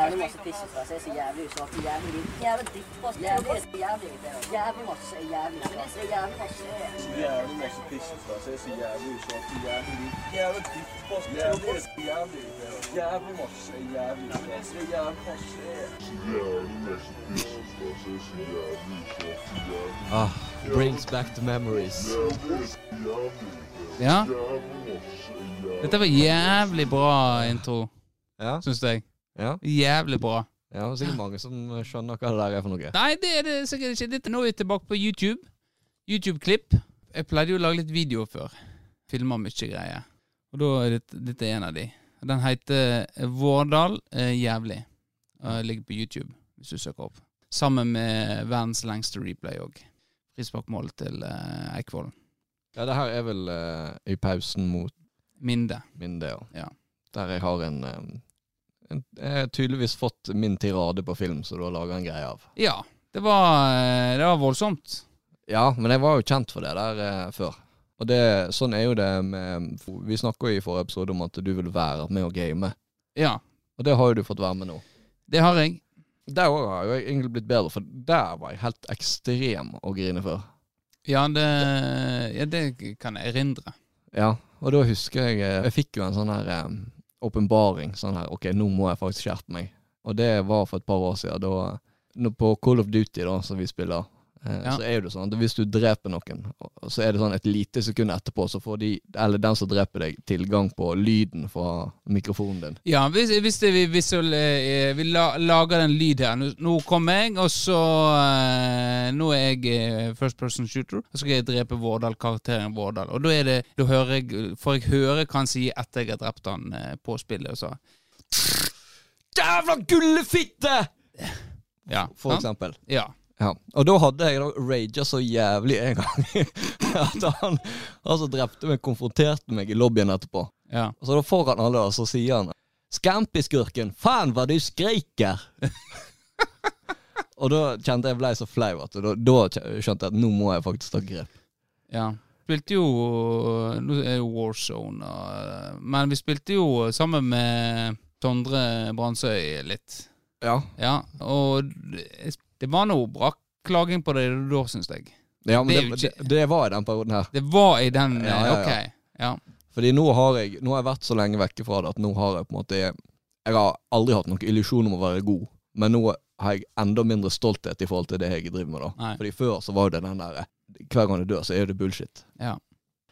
Jævlig masse tissefrase er så jævlig usårlig. Jævlig dritt. Jævlig drittpost. Jævlig masse. Jævlig masse. Jævlig masse. Jævlig masse. Jævlig masse. Jævlig masse pissefrasser, så jævlig usårlig, jævlig dritt. Jævlig drittpost, jævlig dritt, jævlig irriterende. Jævlig masse, jævlig usårlig, jævlig masse. Ah, brings back the memories. Ja. Dette var jævlig bra intro, Ja, syns jeg. ja. Jævlig bra. ja det er sikkert mange som skjønner hva det der er for noe. Nei, det er det sikkert ikke. Dette nå er vi tilbake på YouTube. YouTube-klipp. Jeg pleide jo å lage litt video før. Filmer mye greier. Og da er dette, dette er en av de. Den heter Vårdal eh, jævlig. Og ligger på YouTube, hvis du søker opp. Sammen med verdens lengste replay òg. Frisparkmål til eh, Eikvollen. Ja, det her er vel eh, i pausen mot Minde. min del. Ja. Der jeg har en, eh, en Jeg har tydeligvis fått min tirade på film, så du har laga en greie av. Ja. Det var, eh, det var voldsomt. Ja, men jeg var jo kjent for det der eh, før. Og det, sånn er jo det med Vi snakka jo i forrige episode om at du vil være med og game, Ja. og det har jo du fått være med nå. Det har jeg. Der òg har jo jeg egentlig blitt bedre, for der var jeg helt ekstrem å grine før. Ja, det, ja, det kan jeg erindre. Ja, og da husker jeg eh, Jeg fikk jo en sånn her eh, åpenbaring. Sånn her OK, nå må jeg faktisk skjerpe meg. Og det var for et par år siden. Da, nå på Call of Duty, da, som vi spiller, eh, Ja. så er det jo sånn at hvis du dreper noen, og- så er det sånn et lite sekund etterpå, så får de, eller den som dreper deg, tilgang på lyden fra mikrofonen din. Ja, hvis, hvis det, vi, hvis det, eh, vi la, lager en lyd her. Nå, nå kommer jeg, og så eh, Nå er jeg eh, first person shooter. Og så skal jeg drepe Vårdal, karakteren Vårdal. Og da er det, da hører jeg, får jeg høre hva han sier etter jeg har drept han eh, på spillet. Og så Jævla gullefitte! Ja. For sant? eksempel. ja. Ja. Og da hadde jeg da raga så jævlig en gang at han, han som drepte meg, konfronterte meg i lobbyen etterpå. ja. Og så da foran alle, og så sier han Skampiskurken, faen hva du skriker! og da kjente jeg blei så flau at da, da kj- skjønte jeg at nå må jeg faktisk ta grep. Ja. Spilte jo Nå er det jo Warzone, og, men vi spilte jo sammen med Sondre Brandsøy litt. Ja. Ja, og det det var noe bra klaging på det da, syns jeg. men Det det, er jo det, det var i den perioden her. Det var i den Ja, ja, ja. Ok. Ja. Fordi nå har jeg Nå har jeg vært så lenge vekke fra det at nå har jeg på en måte Jeg har aldri hatt noen illusjon om å være god, men nå har jeg enda mindre stolthet i forhold til det jeg driver med, da. Nei. Fordi før så var jo det den der Hver gang du dør, så er det bullshit. ja.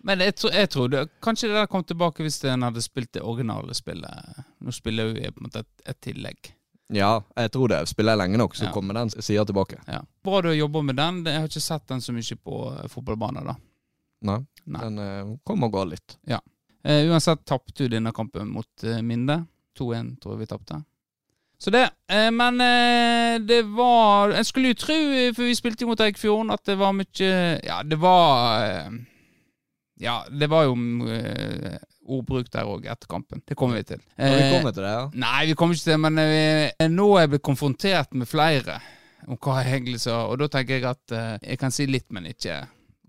Men jeg, tro, jeg tror det, kanskje det der kom tilbake hvis en hadde spilt det originale spillet. Nå spiller vi på en måte et, et tillegg. Ja, jeg tror det. Spiller jeg lenge nok, så Ja. kommer den sida tilbake. Ja. Bra du har jobba med den. Jeg har ikke sett den så mye på eh, fotballbanen, da. Nei. Nei. Den eh, kommer og går litt. Eh, uansett tapte du denne kampen mot eh, Minde. 2-1 tror jeg vi tapte. Så det. Eh, men eh, det var En skulle jo tro, eh, for vi spilte jo mot Eikfjorden, at det var mye Ja, det var eh, Ja, det var jo eh, ordbruk der òg etter kampen. Det kommer vi til. Når vi Eh, kommer til det, ja. Nei, vi kommer ikke til det, men eh, nå er jeg blitt konfrontert med flere om hva jeg egentlig sa, og da tenker jeg at eh, jeg kan si litt, men ikke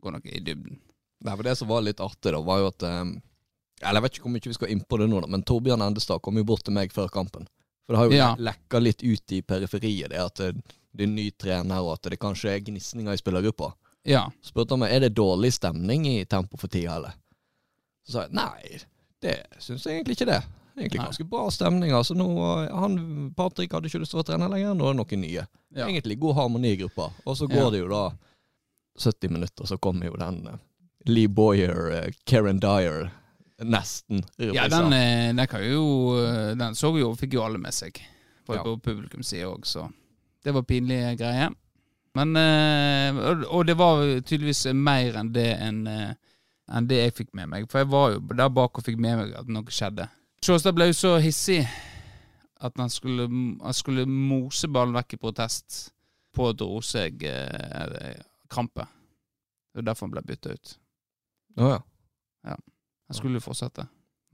gå noe i dybden. Nei, for Det som var litt artig, da, var jo at eh, Eller jeg vet ikke hvor mye vi skal inn på det nå, da, men Torbjørn Endestad kom jo bort til meg før kampen. For det har jo Ja. lekka litt ut i periferiet, det at eh, det er en ny trener, og at det kanskje er gnisninger i spillergruppa. Ja. Spurte han meg er det dårlig stemning i tempo for tida, eller? Så sa jeg nei, det syns jeg egentlig ikke det. Det er Egentlig Nei. ganske bra stemning. altså nå, eh, han, Patrick hadde ikke lyst til å være trener lenger, nå er det noen nye. ja. egentlig god harmoni i gruppa. Og så går Ja. det jo da 70 minutter, så kommer jo den eh, Lee Boyer, eh, Karen Dyer, nesten. Ja, reprisen. den, eh, den kan jo eh, Den så vi jo, fikk jo alle med seg. På, Ja. på publikumssida òg, så det var pinlige greier. Men eh, og, og det var tydeligvis mer enn det enn eh, enn det jeg fikk med meg. For jeg var jo der bak og fikk med meg at noe skjedde. Sjåstad ble jo så hissig at han skulle, han skulle mose ballen vekk i protest. Pådro seg eh, krampe. Det var derfor han ble bytta ut. Å, ja. Han skulle jo fortsette.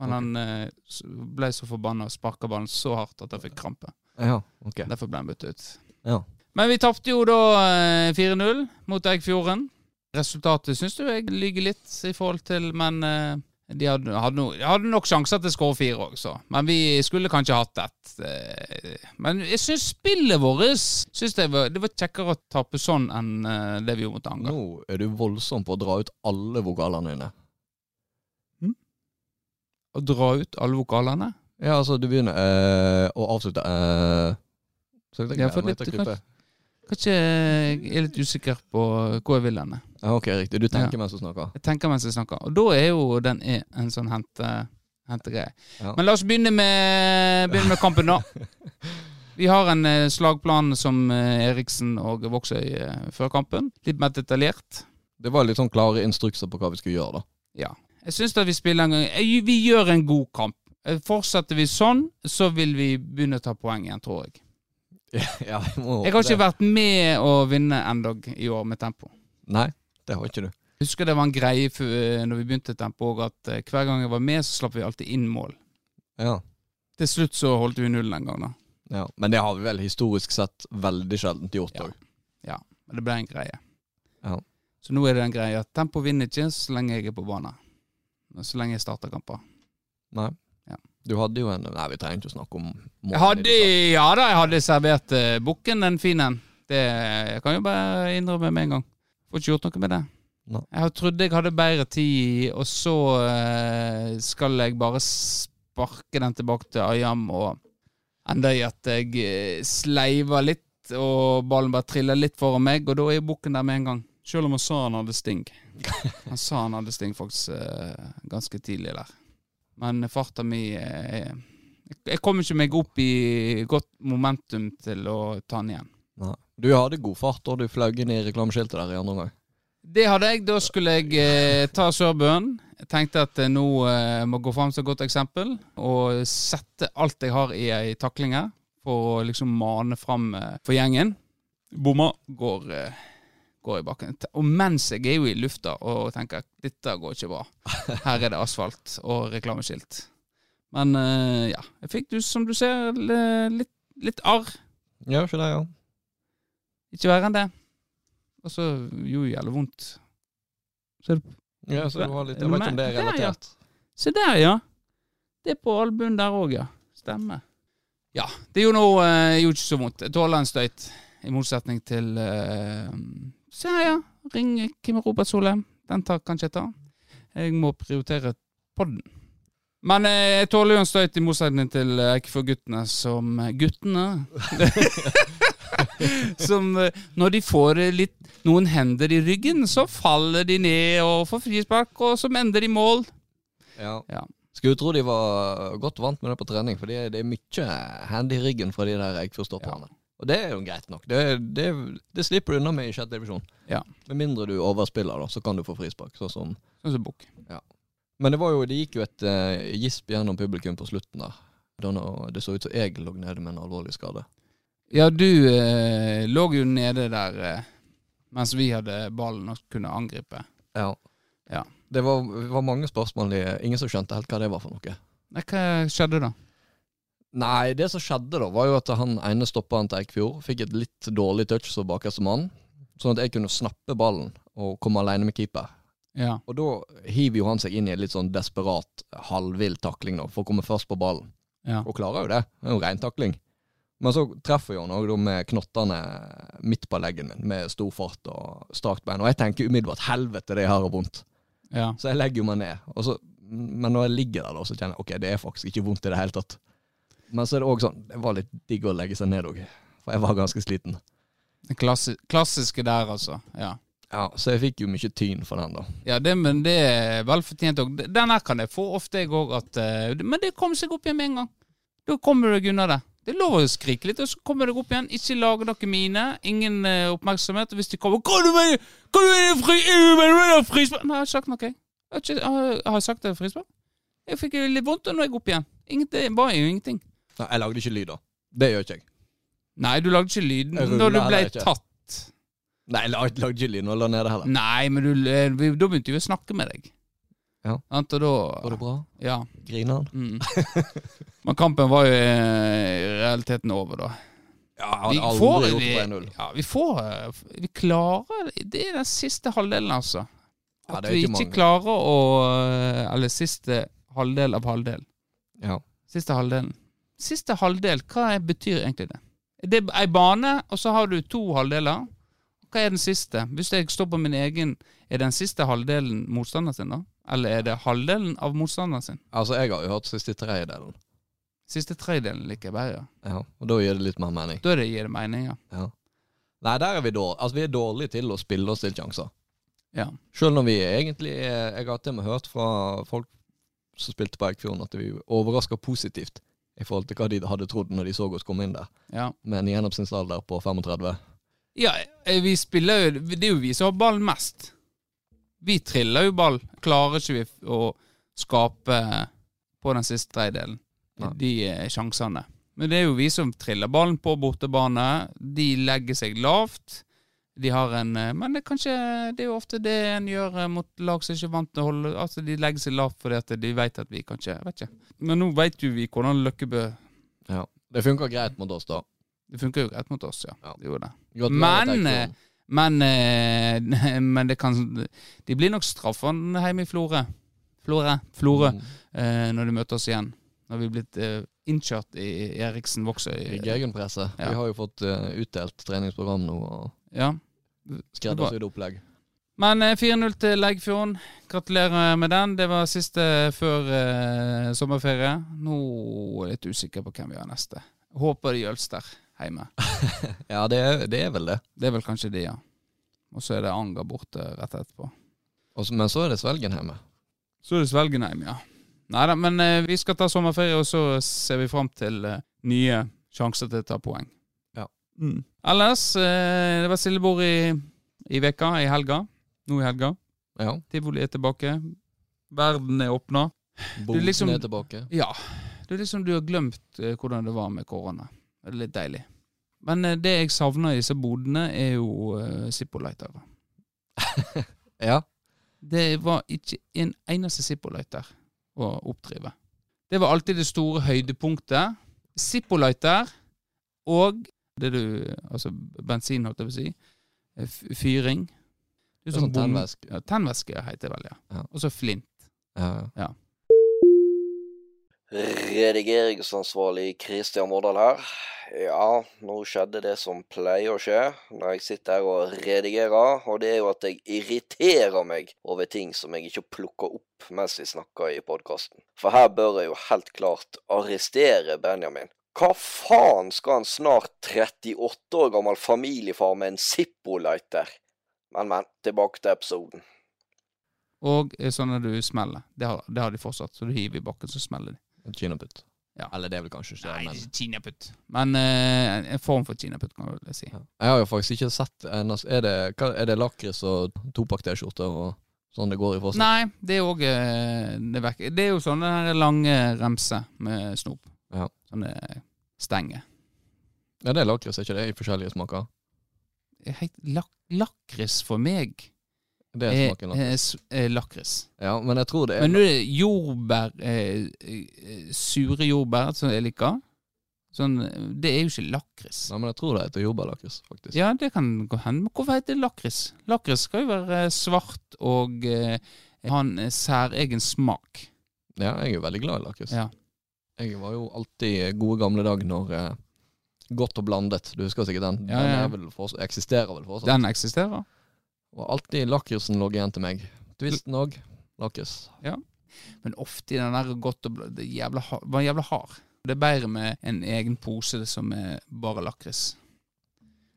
Men Ok. han eh, s- ble så forbanna og sparka ballen så hardt at han fikk krampe. ja, ok. Derfor ble han byttet ut. Ja. Men vi tapte jo da eh, 4-0 mot Eggfjorden. Resultatet syns du jeg lyver litt i forhold til, men eh, De hadde, hadde, no, de hadde nok sjanser til å skåre fire òg, så. Men vi skulle kanskje hatt ett. eh, Men jeg syns spillet vårt synes det, var, det var kjekkere å tape sånn enn eh, det vi gjorde mot Anga. Nå er du voldsom på å dra ut alle vokalene dine. Å dra ut alle vokalene. Ja, altså, du begynner eh, å avslutte eh. Så jeg tenker, Ja, for men litt- etter klippet. kanskje- Kanskje jeg er litt usikker på hvor jeg vil henne. Ja, ok, riktig. Du tenker mens du snakker. Jeg tenker mens jeg snakker. Og da er jo den er en sånn hente, hentegreie. Ja. Men la oss begynne med, begynne med kampen, da. Vi har en eh, slagplan som eh, Eriksen og Vågsøy eh, før kampen. Litt mer detaljert. Det var litt sånn klare instrukser på hva vi skulle gjøre, da. Jeg syns da vi spiller en gang Eh, Vi gjør en god kamp. Eh, Fortsetter vi sånn, så vil vi begynne å ta poeng igjen, tror jeg. Ja, jeg, må Jeg har håpe ikke vært med å vinne endag i år med tempo. Nei, det har ikke du. Husker det var en greie for, eh, når vi begynte tempo, og at eh, hver gang jeg var med, så slapp vi alltid inn mål. Ja. Til slutt så holdt vi nullen en gang, da. ja. Men det har vi vel historisk sett veldig sjeldent gjort Ja. òg. Men det ble en greie. Ja. Så nå er det en greie at tempo vinner ikke så lenge jeg er på banen. Men Så lenge jeg starter kamper. Nei. Ja. Du hadde jo en Nei, vi trenger ikke å snakke om målene Jeg hadde, i det ja da, jeg hadde servert uh, bukken en fin en. Det jeg kan jo bare innrømme med en gang. Får ikke gjort noe med det. Nei. Jeg har- trodde jeg hadde bedre tid, og så eh, skal jeg bare sparke den tilbake til Ayam og enda i at jeg eh, sleiver litt, og ballen bare triller litt foran meg, og da er bukken der med en gang. Selv om han sa han hadde sting. Han sa han hadde sting faktisk eh, ganske tidlig der. Men farta mi eh, jeg kom ikke meg opp i godt momentum til å ta den igjen. tatt. Nei. Du hadde god fart, og du flaug inn i reklameskiltet der i andre omgang. Det hadde jeg. Da skulle jeg eh, ta sørbøen. Jeg tenkte at jeg nå eh, må gå fram som et godt eksempel og sette alt jeg har i ei takling her, for å liksom mane fram eh, for gjengen. Bomma. Går, eh, går i bakken. Og mens jeg er jo i lufta og tenker at dette går ikke bra. Her er det asfalt og reklameskilt. Men eh, ja, jeg fikk, du, som du ser, l- litt, litt arr. Ja, ikke det, ja. Ikke verre enn det. Og så gjorde det jævlig vondt. ja så du har litt, jeg Er du vet ikke om med? det er Ja, ja. relatert. Se der, ja. Det er på albuen der òg, ja. Stemmer. Ja. Det gjorde nå eh, gjorde ikke så vondt. Jeg tåler en støyt, i motsetning til eh, Se her, ja. Ring Kim Robert Solheim. Den tar, kan ikke jeg ta. Jeg må prioritere podden. Men eh, jeg tåler jo en støyt, i motsetning til eh, ikke for guttene, som eh, Guttene Som eh, når de får eh, litt, noen hender i ryggen, så faller de ned og får frispark, og så ender de i mål. Ja. Ja. Skulle jo tro de var godt vant med det på trening, for det det er mye hand i ryggen fra de der eggfyrstopperne. Og det er jo greit nok. Det, det, det slipper du unna med i sjette divisjon. Ja. Med mindre du overspiller, da, så kan du få frispark. Sånn som Sånn som bukk. Men det var jo, det gikk jo et eh, gisp gjennom publikum på slutten der. Da nå- det så ut som jeg lå nede med en alvorlig skade. Ja, du eh, lå jo nede der eh, mens vi hadde ballen og kunne angripe. Ja. Ja. Det var, det var mange spørsmål. i- Ingen som skjønte helt hva det var for noe. Nei, hva skjedde da? Nei, det som skjedde da, var jo at han ene stopperen til Eikfjord fikk et litt dårlig touch som bakerste mann, sånn at jeg kunne snappe ballen og komme alene med keeper. Ja. Og da hiver jo han seg inn i en litt sånn desperat, halvvill takling nå, for å komme først på ballen. Ja. Og klarer jo det. Det er jo rein takling. Men så treffer jo han òg da med knottene midt på leggen min, med stor fart og strakt bein. Og jeg tenker umiddelbart 'helvete, det her er vondt'. ja. Så jeg legger jo meg ned. Og så, men når jeg ligger der, da, så kjenner jeg ok, det er faktisk ikke vondt i det hele tatt. Men så er det òg sånn, det var litt digg å legge seg ned òg. For jeg var ganske sliten. Den klassi klassiske der, altså. Ja. Ja, Så jeg fikk jo mye tyn for den, da. ja, det, men det er velfortjent òg. Den her kan jeg få ofte, jeg òg, at eh, Men det kom seg opp igjen med en gang. Da kommer du deg unna det. Det er lov å skrike litt, og så kommer du deg opp igjen. Ikke lage noe mine. Ingen eh, oppmerksomhet. Og hvis de kommer Hva du mener Hva du mener fri, du mener frispark? Nei, jeg har ikke sagt noe, jeg. Jeg Har, ikke, har, har jeg sagt det er frispark? Jeg fikk jo litt vondt, og nå er jeg opp igjen. Ingenting- Det var jo ingenting. Nei, jeg lagde ikke lyd, da. Det gjør ikke jeg. Nei, du lagde ikke lyden Jeg når du ruller ble heller ikke. tatt. Nei, jeg lag- lagde ikke lyd når jeg la nede heller. Nei, men du, eh, vi, da begynte vi å snakke med deg. Ja. Sant, og Går da det bra? Ja. Griner han? Mm. Men kampen var jo eh, i realiteten over, da. Ja, jeg hadde aldri får- gjort det på 1-0. vi, ja, vi får eh, Vi klarer Det er den siste halvdelen, altså. Ja, At det er vi ikke ikke mange. klarer å eh, Eller siste halvdel av halvdel. Ja. Siste halvdelen. Siste halvdel, hva er- betyr egentlig det? Det er ei bane, og så har du to halvdeler. Hva er den siste? Hvis jeg står på min egen, er den siste halvdelen motstanderen sin, da? Eller er det halvdelen av motstanderen sin? Altså, jeg har jo hørt siste tredjedelen. Siste tredjedelen liker jeg bedre. Ja. Og da gir det litt mer mening. Da er det gir det mening, ja. Ja. Nei, der er vi dårlige. Altså, vi er dårlige til å spille oss til sjanser. Ja. Selv når vi egentlig er- Jeg har til og med hørt fra folk som spilte på Eikfjorden, at vi overrasker positivt i forhold til hva de hadde trodd når de så oss komme inn der. ja. Med en gjennomsnittsalder på 35. Ja, eh, vi spiller jo Det er jo vi som har ball mest. Vi triller jo ball. Klarer ikke vi f- å skape eh, på den siste tredjedelen Nei. de eh, sjansene. Men det er jo vi som triller ballen på bortebane. De legger seg lavt. De har en eh, Men det er kanskje Det er jo ofte det en gjør eh, mot lag som ikke er vant til å holde Altså, de legger seg lavt fordi at de vet at vi kanskje jeg Vet ikke. Men nå vet jo vi hvordan Løkkebø Ja. Det funker greit mot oss, da. Det funker jo greit mot oss, ja. Ja. Det gjorde det. Gratulerer til Eikfjorden. Men, Men, eh, men det kan De blir nok straffa hjemme i Florø. Florø. Florø. Mm. Eh, når de møter oss igjen. Når vi er blitt eh, innkjørt i Eriksen Vokser. I i- Gegenpresset. Ja. Vi har jo fått eh, utdelt treningsprogram nå, og Ja. skreddersydd opplegg. Men eh, 4-0 til Leggfjorden. Gratulerer med den. Det var siste før eh, sommerferie. Nå er jeg litt usikker på hvem vi har neste. Håper det er Jølster hjemme. Ja, det er, det er vel det. Det er vel kanskje de, ja. Og så er det Anger borte rett etterpå. Og så- men så er det Svelgen hjemme. Så er det Svelgenheim, ja. Nei da, men eh, vi skal ta sommerferie, og så ser vi fram til eh, nye sjanser til å ta poeng. Ja. Mm. Ellers, eh, det var stillebord i, i veka, i helga. Nå i helga. Ja. Tivoli er tilbake. Verden er åpna. Boten liksom- er tilbake. Ja. Det er liksom du har glemt eh, hvordan det var med korona. Det er litt deilig. Men eh, det jeg savner i disse bodene, er jo eh, Zippo-lightere. Ja. Det var ikke en eneste Zippo-lighter å oppdrive. Det var alltid det store høydepunktet. Zippo-lighter og det du Altså bensin, holdt jeg på å si. eh, f- Fyring. Det er sånn bom- tennvæske. Ja, tennvæske heter det vel, ja. Ja. Og så flint. Ja. Redigeringsansvarlig Christian Vårdal her. Ja, nå skjedde det som pleier å skje når jeg sitter her og redigerer, og det er jo at jeg irriterer meg over ting som jeg ikke plukker opp mens vi snakker i podkasten. For her bør jeg jo helt klart arrestere Benjamin. Hva faen skal en snart 38 år gammel familiefar med en Zippo-lighter? Men, men, tilbake til episoden. Og eh, sånn at du smeller. Det har, det har de fortsatt. Så du hiver i bakken, så smeller de. Et Kinaputt. Ja. Eller det er vel kanskje ikke det, Nei, men kinaputt. Men eh, en- en form for kinaputt, kan du vel si. ja. Jeg har jo faktisk ikke sett en Er det, hva- er det lakris og Topak-T-skjorter og sånn det går i fortsatt? Nei, det er òg det, er vekk- det er jo sånne her lange remser med snop. Ja. Sånne stenger. Ja, det er lakris, er ikke det? I forskjellige smaker. Helt lak lakris for meg Det er er, smaken er, lakris. Eh, s- er lakris. Ja, men jeg tror det er Eh, Men nå er det jordbær eh, eh, Sure jordbær som jeg liker. Sånn, det er jo ikke lakris. Nei, men jeg tror det heter jordbærlakris, faktisk. Ja, det kan gå hen. Men hvorfor heter det lakris? Lakris skal jo være eh, svart og eh, ha en eh, særegen smak. Ja, jeg er jo veldig glad i lakris. Ja. Jeg var jo alltid gode gamle dag når eh, Godt og blandet, du husker sikkert den? Ja, Den ja. er vel fortsatt, eksisterer vel fortsatt? Den eksisterer. Og alltid lakrisen lå igjen til meg. Twisten òg. Lakris. Men ofte i den der godt og bl- det er jævla, ha- var jævla hard. Det er bedre med en egen pose som er bare lakris.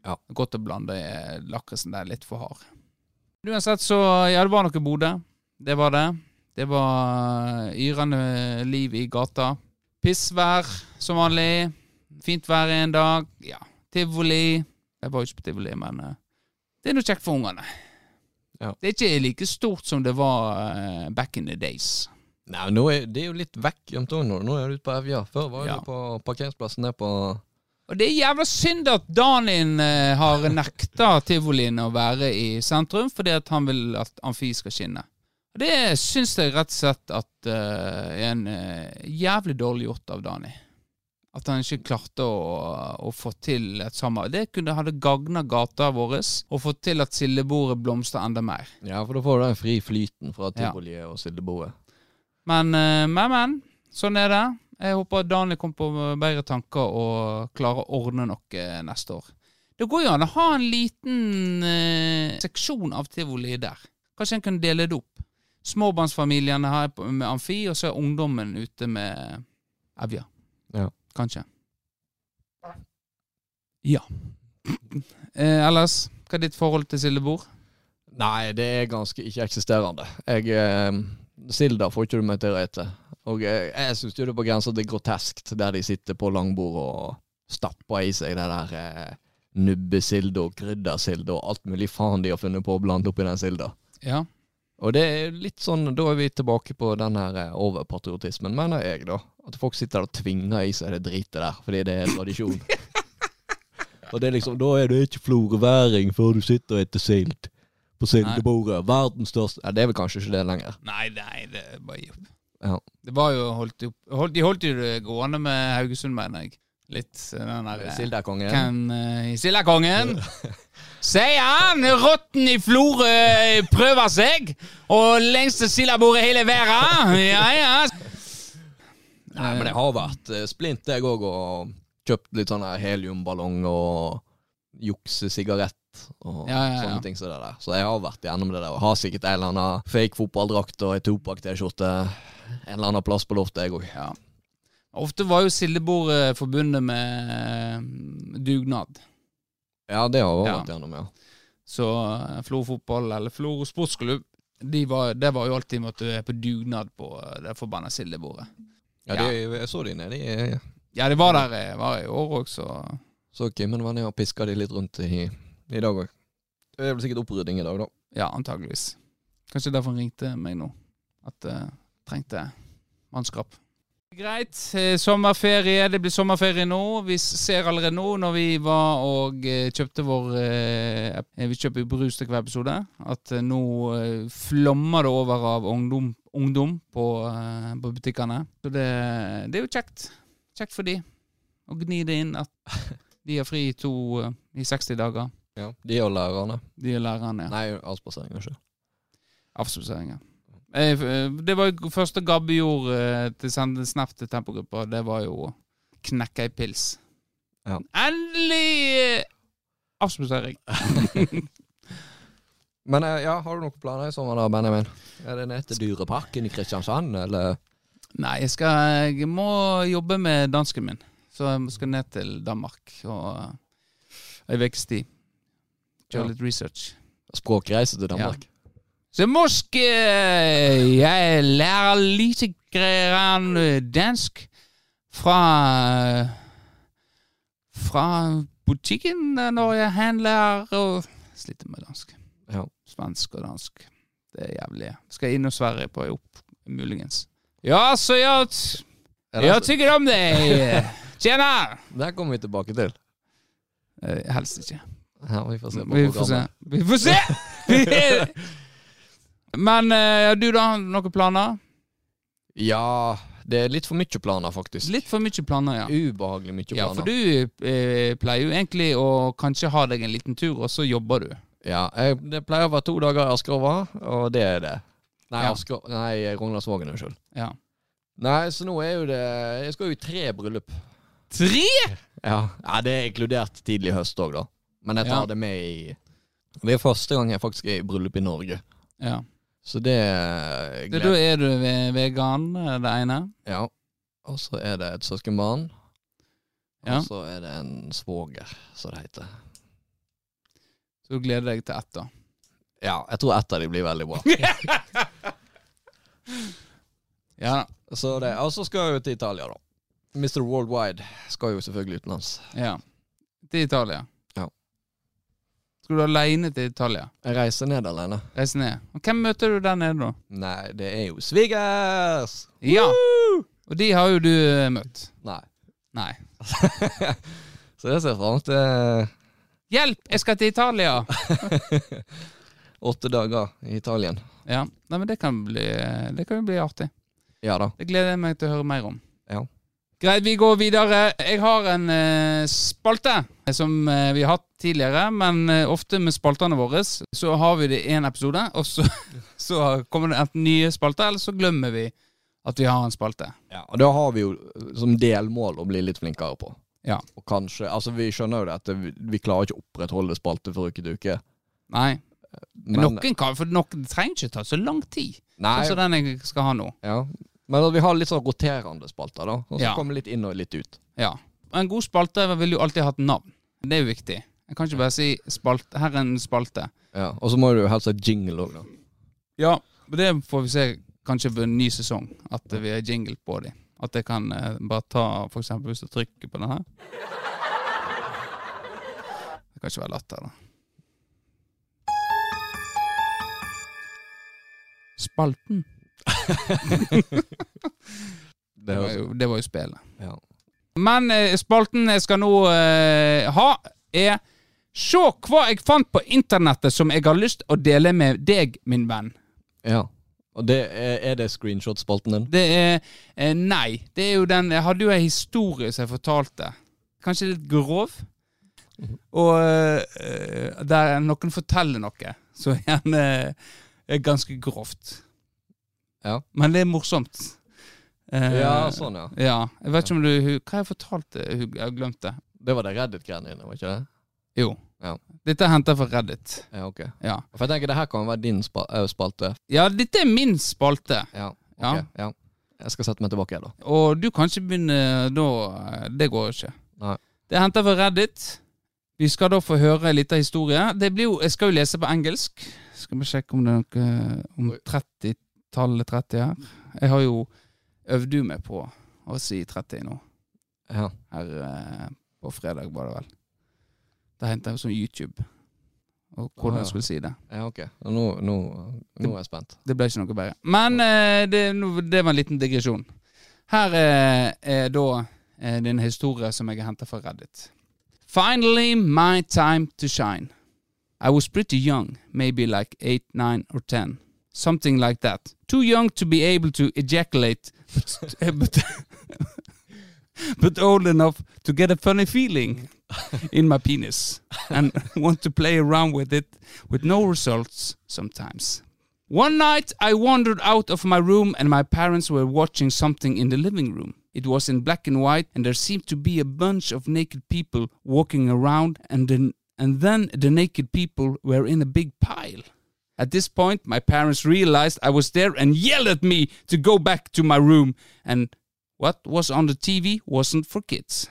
Ja. Godt å blande er lakrisen der litt for hard. Uansett så, ja, det var noe Bodø. Det var det. Det var eh, yrende liv i gata. Pissvær som vanlig. Fint vær en dag. Ja, tivoli. Jeg var jo ikke på tivoli, men eh, det er noe kjekt for ungene. Ja. Det er ikke like stort som det var eh, back in the days. Nei, men nå er det er jo litt vekk gjemt òg nå. Nå er du ute på Evja. Før var Ja. du på parkeringsplassen nede på Og det er jævla synd at Danin eh, har nekta tivolien å være i sentrum, fordi at han vil at Amfi skal skinne. Og det syns jeg rett og slett at eh, er en eh, jævlig dårlig gjort av Dani. At han ikke klarte å, å få til et samarbeid. Det kunne hadde gagna gata vår og fått til at sildebordet blomstrer enda mer. Ja, for da får du den fri flyten fra tivoliet og sildebordet. Men, eh, men, men. Sånn er det. Jeg håper at Daniel kommer på bedre tanker og klarer å ordne noe neste år. Det går jo an å ha en liten eh, seksjon av tivoli der. Kanskje en kunne dele det opp. Småbarnsfamiliene her på- med amfi, og så er ungdommen ute med evja. Ja. Kanskje. Ja. eh, ellers, hva er ditt forhold til sildebord? Nei, det er ganske ikke-eksisterende. Jeg eh, Silda får ikke du meg til å ete. Og jeg, jeg syns det er på grensa til groteskt, der de sitter på langbord og stapper i seg det der eh, nubbesilde og kryddersilde og alt mulig faen de har funnet på å blande oppi den silda. Ja. Og det er litt sånn, da er vi tilbake på den her eh, overpatriotismen, mener jeg, da. At folk sitter og tvinger i seg det dritet der, fordi det er tradisjon. og det er liksom, da er du ikke floreværing før du sitter og etter sild på sildebordet. Verdens største Ja, det er vel kanskje ikke det lenger. Nei, nei, det er bare gi opp. Ja. Det var jo holdt opp, holdt, De holdt jo det gående med Haugesund, mener jeg. Litt eh, den der eh, Sildekongen. Kan uh, Sildakongen. Sier han! Rotten i Florø prøver seg! Og lengste sildabordet i hele verden! Ja, ja. Nei, men jeg har vært eh, splint, jeg òg, og kjøpt litt sånn her heliumballong og juksesigarett. Og Ja, ja, ja. sånne ting som det der. Så jeg har vært gjennom det der. Og har sikkert en eller annen fake fotballdrakt og ei Topak-T-skjorte en eller annen plass på loftet, jeg òg. ja. Ofte var jo sildebordet forbundet med eh, dugnad. Ja, det har jeg Ja. vært gjennom, ja. Så eh, Florø fotball eller Florø sportsklubb, de var, det var jo alltid med at du er på dugnad på eh, det forbanna sildebordet. ja, de- Jeg så de nede i Ja, det var der jeg var i år òg, så Så Kimmen var nede og piska de litt rundt i, i dag òg. Det er vel sikkert opprydding i dag, da. ja, antageligvis. Kanskje derfor han ringte meg nå. At jeg trengte mannskap. Greit. eh, Sommerferie. Det blir sommerferie nå. Vi ser allerede nå, når vi var og eh, kjøpte vår eh, eh, Vi kjøper jo brus til hver episode, at eh, nå eh, flommer det over av ungdom, ungdom på, eh, på butikkene. Så det, det er jo kjekt. Kjekt for de å gni det inn at de har fri i to, eh, i 60 dager. Ja. De og lærerne. De lærerne. Nei, avspasering, ikke. Avspaseringer. Eh, Det var jo første Gabbe gjorde eh, til å sende en snap til Tempogruppa. Det var jo å knekke ei pils. Ja. Endelig eh, avspasering. Men eh, ja, har du noen planer i sommer da, Benjamin? Er det ned til Dyreparken i Kristiansand, eller? Nei, jeg, skal, jeg må jobbe med dansken min. Så jeg skal ned til Danmark og eh, ei ukes tid. Ja. Gjøre litt research. Språkreise til Danmark? Så måske øh, jeg lærer lite grann dansk fra, øh, fra butikken øh, når jeg handler og sliter med dansk. Ja. Svensk og dansk. Det er jævlig. Skal inn og Sverige på jobb, muligens. Ja, så jeg, jeg tykker om deg. Tjena! Der kommer vi tilbake til. Eh, Helst ikke. Ja, vi får se på Vi får se. programmet. Vi får se! Men eh, du, da? Noen planer? Ja, det er litt for mye planer, faktisk. Litt for mye planer, ja. Ubehagelig mye planer. Ja, for du eh, pleier jo egentlig å kanskje ha deg en liten tur, og så jobber du. Ja, jeg, det pleier å være to dager i Askerova, og det er det. Nei, Ja. Asker... Nei, Rognaldsvågen, unnskyld. Ja. Nei, så nå er jo det Jeg skal jo i tre bryllup. Tre?! Ja, ja det er inkludert tidlig i høst òg, da. Men jeg tar Ja. det med i Det er første gang jeg faktisk er i bryllup i Norge. Ja. Så det gleder Så da er du ve- vegan, eh, det ene. Ja. Og så er det et søskenbarn. Ja. Og så er det en svoger, som det heter. Så du gleder deg til ett, da. Ja, jeg tror ett av de blir veldig bra. Ja. så det, og så skal jeg jo til Italia, da. Mr. Worldwide skal jo selvfølgelig utenlands. ja. Til Italia. Ja. Skal du aleine til Italia? Jeg reiser ned alene. Reise ned. Og hvem møter du der nede, da? Nei, det er jo svigers! Ja. Og de har jo du eh, møtt. Nei. Nei. Så det ser jeg fram til. eh, Hjelp, jeg skal til Italia! Åtte dager i Italien. Ja, Nei, men det kan, bli, det kan jo bli artig. Ja da. Det gleder jeg meg til å høre mer om. Ja. Greit, vi går videre. Jeg har en eh, spalte som eh, vi har hatt tidligere, men eh, ofte med spaltene våre så har vi det i én episode, og så, så kommer det enten nye spalter, eller så glemmer vi at vi har en spalte. Ja, og da har vi jo som delmål å bli litt flinkere på. Ja. Og kanskje, altså Vi skjønner jo det at vi, vi klarer ikke å opprettholde spalte fra uke til uke. Nei, Men, noen kan, for noen trenger ikke ta så lang tid, nei, sånn som den jeg skal ha nå. ja. men vi har litt sånn roterende spalter, da. Og så Ja. kommer litt inn og litt ut. Ja. Og en god spalte vil jo alltid ha et navn. Det er jo viktig. Jeg kan ikke bare si spalte. Her er en spalte. Ja. Og så må du jo helst ha jingle òg, da. Ja, men det får vi se kanskje ved en ny sesong, at vi har jingle på dem. At jeg kan eh, bare ta for eksempel hvis du trykker på den her. Det kan ikke være latter, da. Spalten. Det Det var høres- jo, det var jo spillet. ja. Men eh, spalten jeg skal nå eh, ha, er Se hva jeg fant på internettet som jeg har lyst å dele med deg, min venn. ja. Og det er, er det screenshot-spalten din? Det er eh, Nei. Det er jo den Jeg hadde jo en historie som jeg fortalte. Kanskje litt grov. Mhm. Og eh, der noen forteller noe som gjerne eh, er ganske grovt. Ja. Men det er morsomt. Eh, Ja, sånn, ja. ja. Jeg vet ikke om du Hva jeg fortalte Hugh? Jeg har glemt det. Det var det Reddit-greiene dine, var ikke det? Jo. Ja. Dette er henta fra Reddit. Ja, ok. Ja. For jeg tenker det her kan være din spa eh, spalte. ja, dette er min spalte, Ja. ok, Ja. ja. Jeg skal sette meg tilbake, jeg, da. og du kan ikke begynne eh, da. Det går jo ikke. Nei. Det er henta fra Reddit. Vi skal da få høre en liten historie. Det blir jo, jeg skal jo lese på engelsk. Skal vi sjekke om det er noe eh, om 30-tallet 30 her. Jeg har jo øvd jo meg på å si 30 nå. Ja. Her eh, på fredag, var det vel. Da henta jeg jo sånn YouTube. Og hvordan jeg skulle si det. Ah, ja, ok. Nå, nå, nå er jeg spent. Det ble ikke noe bedre. Men eh, det, nå- det var en liten digresjon. Her eh, er da eh, din historie som jeg har henta fra Reddit. Finally my time to shine. I was pretty young, maybe like 8, 9 or 10. Something like that. Too young to be able to ejaculate, but, eh, but, but old enough to get a funny feeling in my penis and want to play around with it with no results sometimes. One night I wandered out of my room and my parents were watching something in the living room. It was in black and white and there seemed to be a bunch of naked people walking around and then, and then the naked people were in a big pile. At this point my parents realized I was there and yelled at me to go back to my room and what was on the TV wasn't for kids.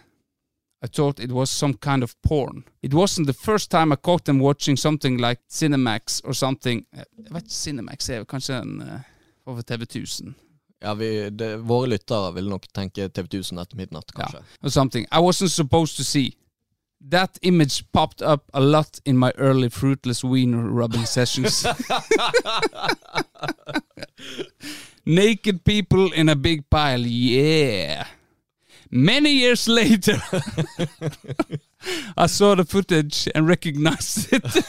I thought it was some kind of porn. It wasn't the first time I caught them watching something like Cinemax or something. Eh, Jeg vet ikke, Cinemax er jo kanskje en eh, over TV 1000. Ja, vi, det, Våre lyttere vil nok tenke TV 1000 etter midnatt, kanskje. or something I wasn't supposed to see. That image popped up a lot in my early fruitless wiener rubbing sessions. Naked people in a big pile, yeah. Many years later, I saw the footage and recognized it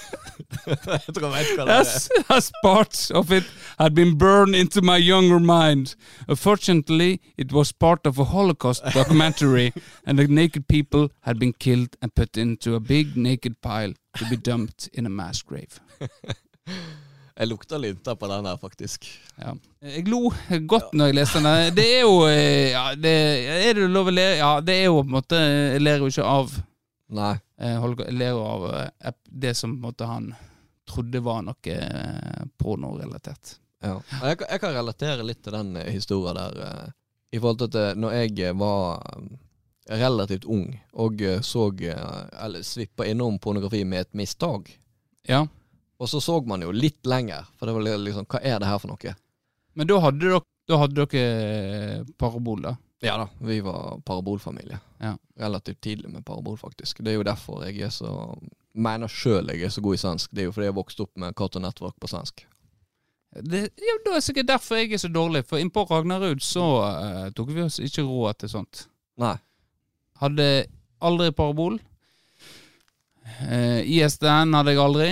Jeg tror jeg vet hva det er. as, as parts of it had been burned into my younger mind. Unfortunately, it was part of a Holocaust documentary, and the naked people had been killed and put into a big naked pile to be dumped in a mass grave. Jeg lukter linter på den her, faktisk. Ja. Eh, Jeg lo godt når jeg leste den. Det er jo eh, ja, det, Er det lov å le? Ja, det er jo på en måte Jeg ler jo ikke av Nei. eh, Holocaust- Jeg ler jo av eh, det som på en måte han trodde var noe eh, pornorelatert. Ja. Og Jeg, kan- jeg kan relatere litt til den eh, historien der. eh, I forhold til at eh, når jeg eh, var eh, relativt ung og eh, så eh, Eller svippa innom pornografi med et mistag, Ja. og så så man jo litt lenger, for det var li- liksom Hva er det her for noe? Men da hadde dere, da hadde dere parabol, da? Ja da, vi var parabolfamilie. Ja. Relativt tidlig med parabol, faktisk. Det er jo derfor jeg er så mener sjøl jeg er så god i svensk. Det er jo fordi jeg vokste opp med Cartoon Network på svensk. Det, ja, da er det sikkert derfor jeg er så dårlig, for innpå Ragnarud så eh, tok vi oss ikke råd til sånt. Nei. Hadde aldri parabol. Eh, ISDN hadde jeg aldri.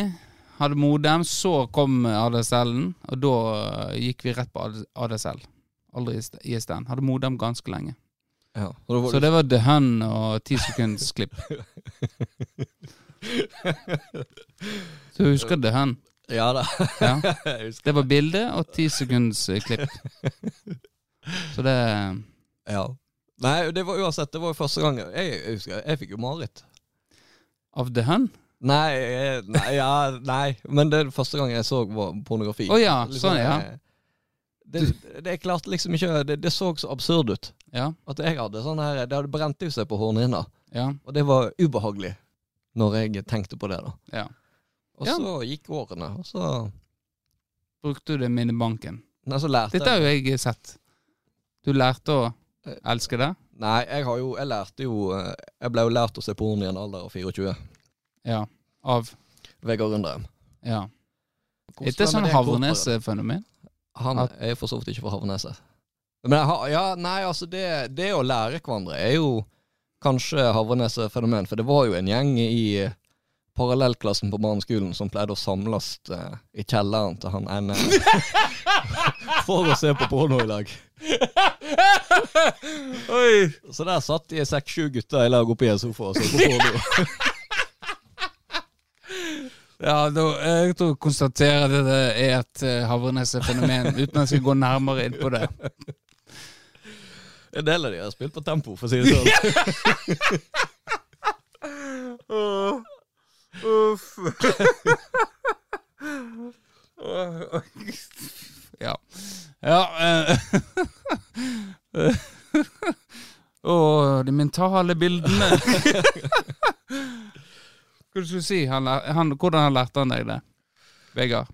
Hadde modem, så kom ADSL-en, og da eh, gikk vi rett på ADSL. Aldri ISDN. Hadde modem ganske lenge. Ja. Og da var Så det var The Hun og ti sekunds klipp. Så jeg husker The Hun. du- ja da. Ja. Jeg husker. Det var bilde og ti sekunds eh, klipp. Så det eh, Ja. Nei, det var uansett, det var jo første gang jeg, jeg husker, jeg fikk jo mareritt. Av The Hun? Nei, eh, nei, ja, nei, men det er første gang jeg så var pornografi. Å ja, sånn, ja. eh, Det, det, jeg klarte liksom ikke det, det så så absurd ut. Ja. At jeg hadde sånn her Det hadde brent ut seg på hornhinna. Ja. Og det var ubehagelig når jeg tenkte på det, da. ja. Og Ja. så gikk årene, og så Brukte du det minibanken? Nei, så lærte Dette Eh. jeg har jo jeg eh, sett. Du lærte å elske det? Nei, jeg har jo Jeg lærte jo eh, Jeg ble jo lært å se porno i en alder av 24. Ja. Av Vegard Undrem. Ja. Hvordan Dette er ble sånn det kortere? havrenesefenomen. Han At- er jo for så vidt ikke fra Havneset. Men jeg har, ja, nei, altså det, det å lære hverandre er jo kanskje Havreneset-fenomen, for det var jo en gjeng i parallellklassen på barneskolen som pleide å samles eh, i kjelleren til han ene for å se på porno i lag. Så der satt de seks-sju gutter i lag oppi en sofa og så på porno. Ja, da, jeg tror jeg konstaterer det det er et eh, havrenesefenomen, uten at jeg skal gå nærmere inn på det. En del av de har spilt på tempo, for å si det sånn. Uff. ja. Ja eh, Å, de mentale bildene. Hva skulle du si? Han, lær- han, hvordan han lærte han deg det? Vegard?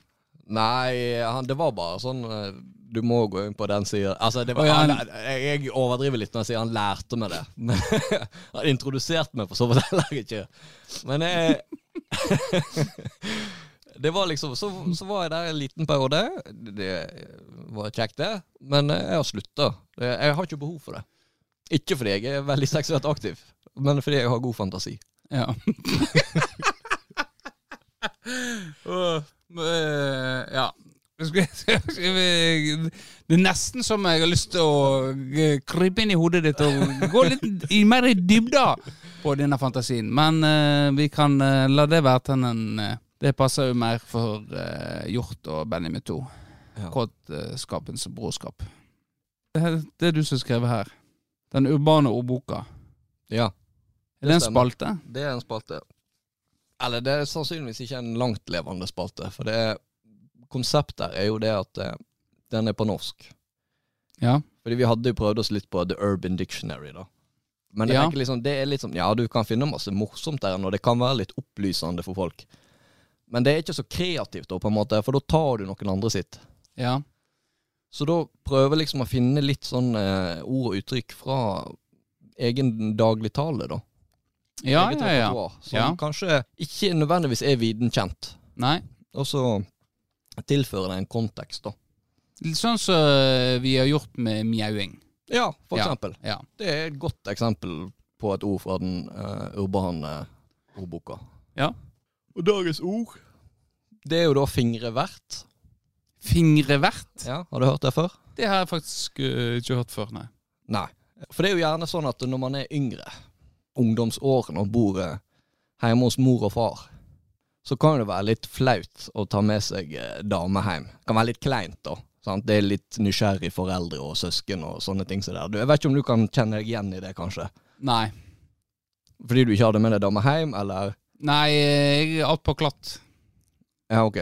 Nei, han, det var bare sånn eh, Du må gå inn på den sida. Altså, det var, Å, ja, han, jeg, jeg overdriver litt når jeg sier han lærte meg det. Men, han introduserte meg for så vidt heller ikke. Men jeg Det var liksom så, så var jeg der en liten periode. Det var kjekt, det. Men eh, jeg har slutta. Jeg har ikke behov for det. Ikke fordi jeg er veldig seksuelt aktiv, men fordi jeg har god fantasi. Ja. Åh, men, eh, ja. Skal jeg- skal vi- Det er nesten som jeg har lyst til å eh, krype inn i hodet ditt og gå litt i- mer i dybda på denne fantasien. Men eh, vi kan eh, la det være til en eh, Det passer jo mer for eh, Hjort og Benjamin 2. Ja. Kåtskapens brorskap. Det, her- det er du som skriver her. Den urbane ordboka. Ja. Er det en stemmer. spalte? Det er en spalte. Eller det er sannsynligvis ikke en langtlevende spalte, for det er, konseptet er jo det at eh, den er på norsk. Ja. Fordi vi hadde jo prøvd oss litt på The Urban Dictionary, da. Men jeg Ja. tenker liksom, det er litt sånn, ja, du kan finne masse morsomt der, og det kan være litt opplysende for folk. Men det er ikke så kreativt, da, på en måte, for da tar du noen andre sitt. ja. Så da prøver jeg liksom å finne litt sånn eh, ord og uttrykk fra egen dagligtale, da. Ja, eget ja, ja. repertoar, Som Ja. kanskje ikke nødvendigvis er viden kjent. Nei. Og så tilfører det en kontekst, da. Litt sånn som vi har gjort med mjauing. Ja, for Ja. eksempel. Ja. Det er et godt eksempel på et ord fra den eh, urbane ordboka. Ja. Og dagens ord Det er jo da fingrevert. Fingrevert? Ja, har du hørt det før? Det har jeg faktisk eh, ikke hørt før, nei. Nei. For det er jo gjerne sånn at når man er yngre, ungdomsårene og bor eh, hjemme hos mor og far, så kan det være litt flaut å ta med seg eh, dame hjem. Kan være litt kleint, da. Sant? Det er litt nysgjerrig foreldre og søsken og sånne ting. som det er. Du, jeg vet ikke om du kan kjenne deg igjen i det, kanskje. Nei. Fordi du ikke hadde med deg dame hjem, eller Nei, eh, jeg er alt på klatt. Ja, ok.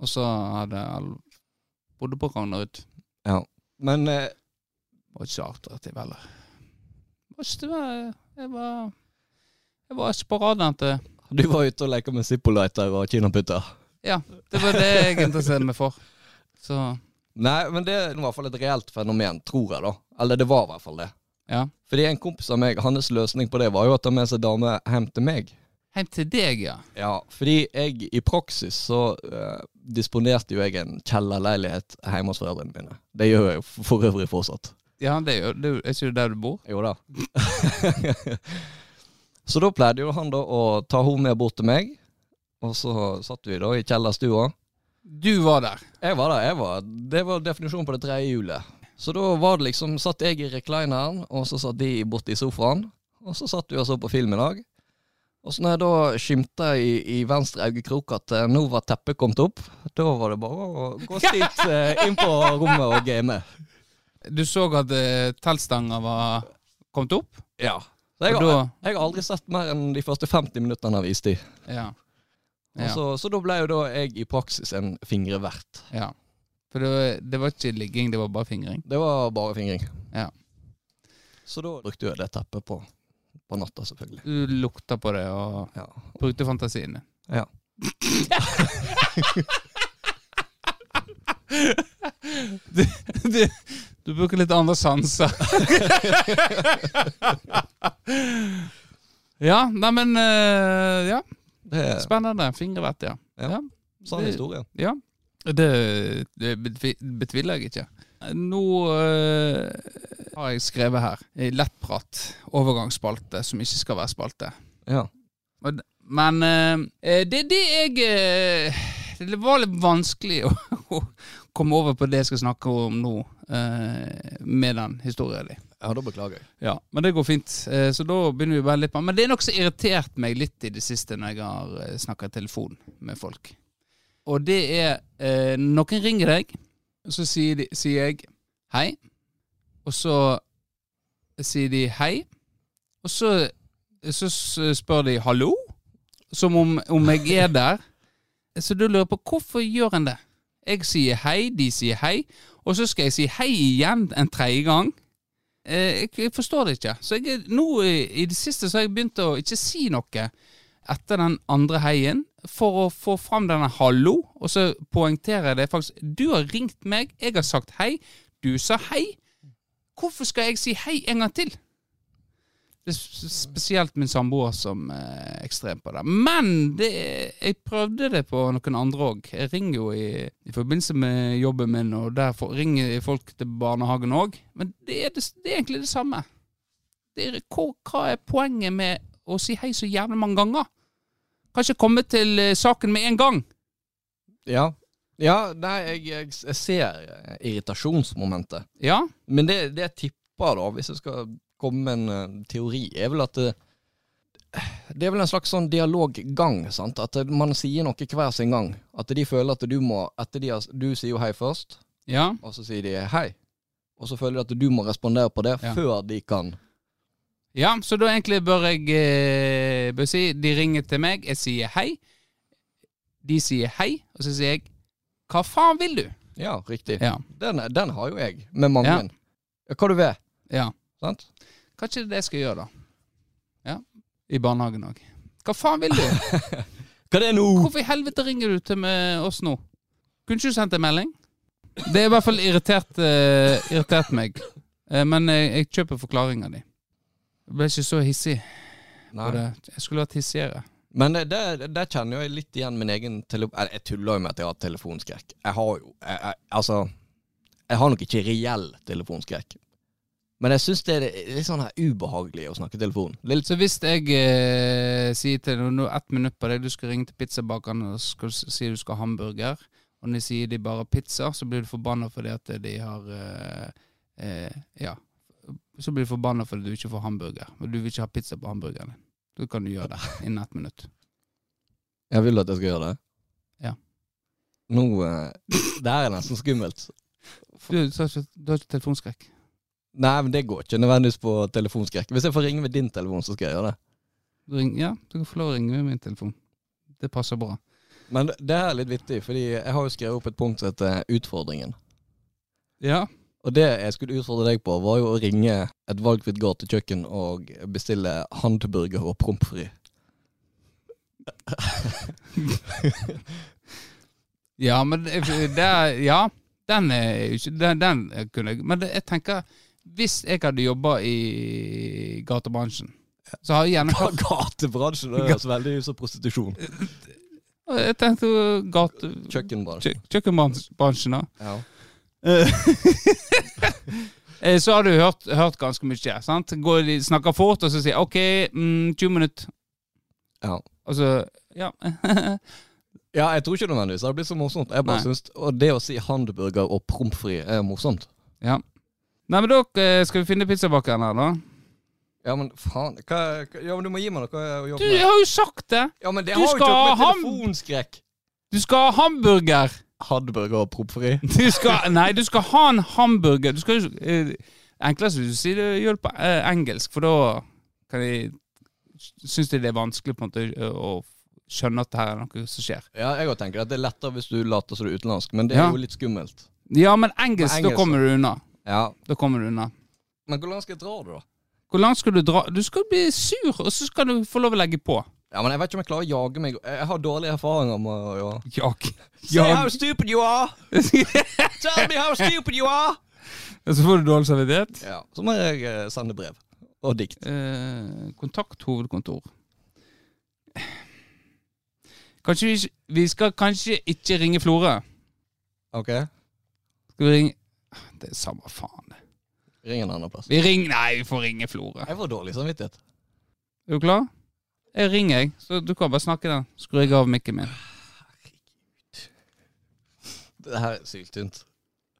Og så hadde jeg all... bodde på Ragnerud. Men eh, Var ikke så attraktiv heller. Var ikke det var- eh, Jeg var Jeg var sparadente. du var ute og leka med zippolighter og kinaputter. Det var det jeg interesserte meg for. Så Nei, men det er i hvert fall et reelt fenomen, tror jeg, da. Eller det var i hvert fall det. ja. Fordi en kompis av meg, hans løsning på det var jo å ta med seg dame hjem til meg. Hjem til deg, ja. Ja, fordi jeg i praksis så eh, disponerte jo jeg en kjellerleilighet hjemme hos foreldrene mine. Det gjør jeg jo f- for øvrig fortsatt. Ja, det er jo det er jo- er ikke det der du bor? Jo da. så da pleide jo han da å ta henne med bort til meg, og så satt vi da i kjellerstua. Du var der. Jeg var der, jeg var. Det var definisjonen på det tredje hjulet. Så da var det liksom, satt jeg i reclineren, og så satt de borte i sofaen. Og så satt vi og så på film i dag. Og så når jeg da skimta i, i venstre øyekrok at eh, nå var teppet kommet opp, da var det bare å gå stilt eh, inn på rommet og game. Du så at uh, teltstanga var kommet opp? Ja. Så jeg, Og har, da- jeg har aldri sett mer enn de første 50 minuttene av Istid. Ja. Og Ja. Så, så da ble jo da jeg i praksis en fingrevert. ja. For det var, det var ikke ligging, det var bare fingring. Det var bare fingring. Ja. Så da brukte jeg det teppet på, på natta, selvfølgelig. Du lukta på det og Ja. brukte fantasien din. ja. Du, du bruker litt andre sanser. ja, neimen uh, Ja, Det er spennende. Fingrevett, ja. Ja. ja. sann historie. Ja, det, det betvi- betviler jeg ikke. Nå eh, har jeg skrevet her i lettprat, overgangsspalte, som ikke skal være spalte. Ja. Og d- Men eh, det, det jeg eh, Det var litt vanskelig å, å komme over på det jeg skal snakke om nå, eh, med den historien din. ja, da beklager jeg. Ja, men det går fint. Eh, Så da begynner vi bare litt med Men det er noe som har irritert meg litt i det siste når jeg har eh, snakket i telefon med folk. Og det er eh, Noen ringer deg, så sier, de, sier jeg hei. Og så sier de hei. Og så, så s- spør de hallo, som om, om jeg er der. Så du lurer jeg på hvorfor gjør en det? Jeg sier hei, de sier hei, og så skal jeg si hei igjen en tredje gang. Eh, jeg, jeg forstår det ikke. Så jeg, er- nå eh, i, i det siste så har jeg begynt å ikke si noe etter den andre heien for å få fram denne hallo, og så poengterer jeg det faktisk. Du har ringt meg, jeg har sagt hei, du sa hei. Hvorfor skal jeg si hei en gang til? Det er s- spesielt min samboer som er ekstrem på det. Men det, jeg prøvde det på noen andre òg. Jeg ringer jo i, i forbindelse med jobben min, og der får- ringer folk til barnehagen òg. Men det er, det, s- det er egentlig det samme. Det er, hvor, hva er poenget med å si hei så jævlig mange ganger? Kan ikke komme til eh, saken med en gang. Ja. ja nei, jeg, jeg, jeg ser eh, irritasjonsmomentet. Ja, Men det, det jeg tipper, da, hvis jeg skal komme med en eh, teori, er vel at det, det er vel en slags sånn dialoggang. sant? At eh, man sier noe hver sin gang. At de føler at du må etter de, har- Du sier jo hei først, ja, og så sier de hei. Og så føler de at du må respondere på det Ja. før de kan ja. Så da egentlig bør jeg eh, bør si De ringer til meg, jeg sier hei. De sier hei, og så sier jeg Hva faen vil du? Ja, riktig. Ja. Den, den har jo jeg, med mange. Ja. Ja. Hva du vil. ja. Sant? Kanskje det er det jeg skal gjøre, da. Ja. I barnehagen òg. Hva faen vil du? Hva det er nå? Hvorfor i helvete ringer du til med oss nå? Kunne ikke du sendt en melding? Det er i hvert fall irritert, eh, irritert meg. Eh, men jeg, jeg kjøper forklaringa di. Jeg ble ikke så hissig på Nei. det. Jeg skulle vært hissigere. Men det, det, der kjenner jo jeg litt igjen min egen telefon... Jeg, jeg tuller jo med at jeg har telefonskrekk. Jeg har jo jeg, jeg, Altså, jeg har nok ikke reell telefonskrekk. Men jeg syns det er litt sånn her ubehagelig å snakke i telefon. Det er litt Så hvis jeg eh, sier til deg nå ett minutt på deg, du skal ringe til pizzabakerne og skal, s- si du skal ha hamburger, og når de sier de bare har pizza, så blir du forbanna fordi at de har eh, eh, Ja. Så blir du forbanna fordi du ikke får hamburger, og du vil ikke ha pizza på hamburgeren din. Da kan du gjøre det innen ett minutt. Jeg vil at jeg skal gjøre det. Ja. Nå eh, Det her er nesten skummelt. Du, du har ikke, du har ikke telefonskrekk? Nei, men det går ikke nødvendigvis på telefonskrekk. Hvis jeg får ringe med din telefon, så skal jeg gjøre det. Du ring, ja, du kan få lov å ringe med min telefon. Det passer bra. Men det her er litt vittig, fordi jeg har jo skrevet opp et punkt som heter Utfordringen. Ja. Og det jeg skulle utfordre deg på, var jo å ringe et valgfritt gatekjøkken og bestille hamburger og prompfri. Ja, men det, det, ja, den er jo ikke den, den kunne jeg Men det, jeg tenker Hvis jeg hadde jobba i gatebransjen, så har jeg gjerne hatt Gatebransjen det høres veldig ut som prostitusjon. Jeg tenkte jo gate... Kjøkkenbransjen. kjø- Kjøkkenbransjen, da. Ja. Eh, Så har du hørt, hørt ganske mye. sant? Går, de snakker fort, og så sier OK, mm, 20 minutter. Ja. Og så Ja. eh. ja, jeg tror ikke nødvendigvis det blir så morsomt. Jeg bare Nei. syns, Og det å si hamburger og prompfri er morsomt. ja. Nei, men da eh, skal vi finne pizzabakeren her, da. Ja, men faen. Hva, hva, ja, men du må gi meg noe å Du, jobbe jeg med. har jo sagt det! Ja, men det du har jo ikke skal noe med ha ham. telefonskrekk. Du skal ha hamburger! Hadburger og proppfri. Du skal, nei, du skal ha en hamburger. Du skal jo eh, Enklest hvis du sier det gjør det på eh, engelsk, for da kan de Syns de det er vanskelig på en måte å- å skjønne at det her er noe som skjer. Ja, jeg òg tenker at det er lettere hvis du later som du er utenlandsk, men det er Ja. jo litt skummelt. Ja, men engelsk, engelsk, da kommer du unna. Ja. Da kommer du unna. Men hvor langt skal jeg dra det, da? Hvor langt skal du dra? Du skal bli sur, og så skal du få lov å legge på. Ja, men Jeg vet ikke om jeg klarer å jage meg. Jeg har dårlige erfaringer med å ja. Jag. stupid you are! Tell me how stupid you are! Så får du dårlig samvittighet. Ja, Så må jeg eh, sende brev. Og dikt. Eh, kontakt hovedkontor. Kanskje vi, ikke- vi skal kanskje ikke ringe Florø. Ok? Skal vi ringe Det er samme faen. Ring en annen plass. Vi ringer Nei, vi får ringe Florø. Jeg får dårlig samvittighet. Er du klar? Jeg ringer, jeg. Så du kan bare snakke den. Skrur jeg av mikken min. Det her er syltynt.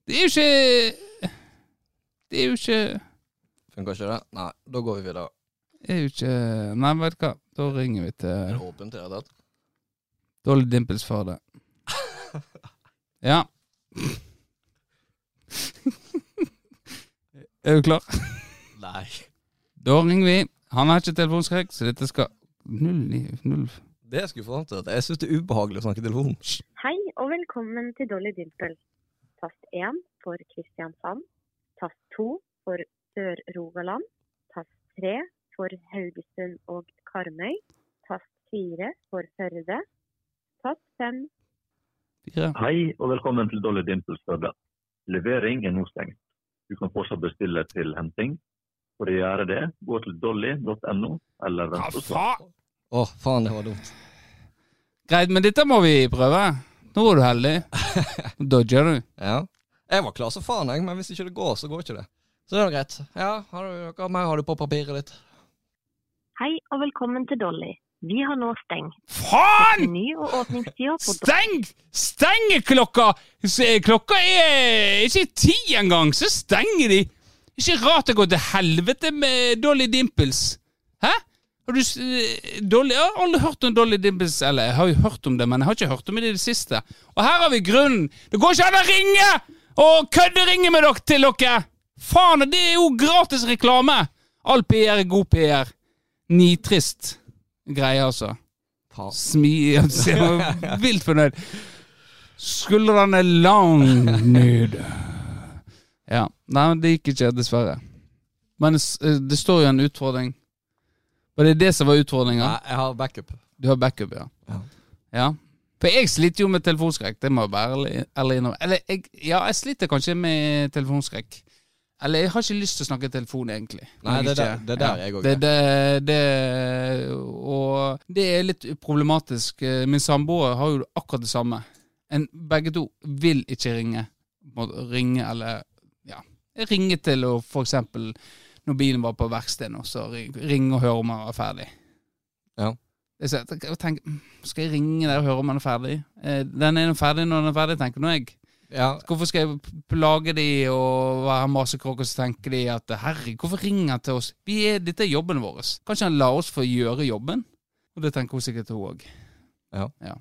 Det er jo ikke Det er jo ikke Funker ikke det? Nei, da går vi videre. Det er jo ikke Nei, vet du hva. Da ringer vi Er til det åpent i det hele tatt? Dolly Dimples for det. Ja. er du klar? Nei. Da ringer vi. Han har ikke telefonskrekk, så dette skal 09 0 Det er skuffende. Jeg syns det er ubehagelig å snakke i telefonen. Hei og velkommen til Dolly Dimple. Tast 1 for Kristiansand. Tast 2 for Sør-Rogaland. Tast 3 for Haugesund og Karmøy. Tast 4 for Førde. Tast 5 4. Hei og velkommen til Dolly Dimples Førde. Levering er nå stengt. Du kan fortsatt bestille til henting. For å gjøre det, gå til dolly.no eller Hva vent og svar. faen? Å, faen, det var dumt. Greit, men dette må vi prøve. Nå var du heldig. Dodger du. Ja. Jeg var klar som faen, jeg, men hvis ikke det går, så går ikke det. Så det er greit. Ja, har du noe mer har du på papiret ditt? Hei og velkommen til Dolly. Vi har nå stengt. Faen! Ny og åpningstider på Steng! Stengeklokka! S- eh, Klokka er ikke ti engang, så stenger de. Ikke rart det går til helvete med Dolly Dimples. Hæ? Har du s- eh, Dolly, jeg har aldri hørt om Dolly Dimples. Eller jeg har jo hørt om det, men jeg har ikke hørt om det i det siste. Og her har vi grunnen. Det går ikke an å ringe og kødderinge med dere til dere! Faen, det er jo gratis reklame! All PR er god PR. Nitrist greie, altså. Faen. Smi Han ser meg vilt fornøyd. Skuldrene lang ned. Ja. Nei, men det gikk ikke, dessverre. Men s- eh, det står jo en utfordring. Var det det som var Nei, utfordringa? jeg har backup. Du har backup, ja. Ja. Ja. For jeg sliter jo med telefonskrekk, det må jeg være ærlig- ærlig innrømme. Eller jeg, ja, jeg sliter kanskje med telefonskrekk. Eller jeg har ikke lyst til å snakke i telefon, egentlig. Nei, Når jeg det er der- ikke- det er der jeg også det, det, det, Og det er litt problematisk. Eh, Min samboer har jo akkurat det samme. En, begge to vil ikke ringe. Må ringe eller Ja. Ringe til og for eksempel når bilen var på verksted nå, så ring, ring og hør om han var ferdig. Ja. Jeg ser- jeg tenker, mm, skal jeg ringe der og høre om han er ferdig? Eh, Den er nå ferdig når den er ferdig, tenker nå jeg. Ja, Hvorfor skal jeg p- plage de og være masekråke, og så tenker de at herregud, hvorfor ringer han til oss? Vi er, dette er jobben vår. Kanskje han lar oss få gjøre jobben? Og det tenker hun sikkert hun òg. Ja.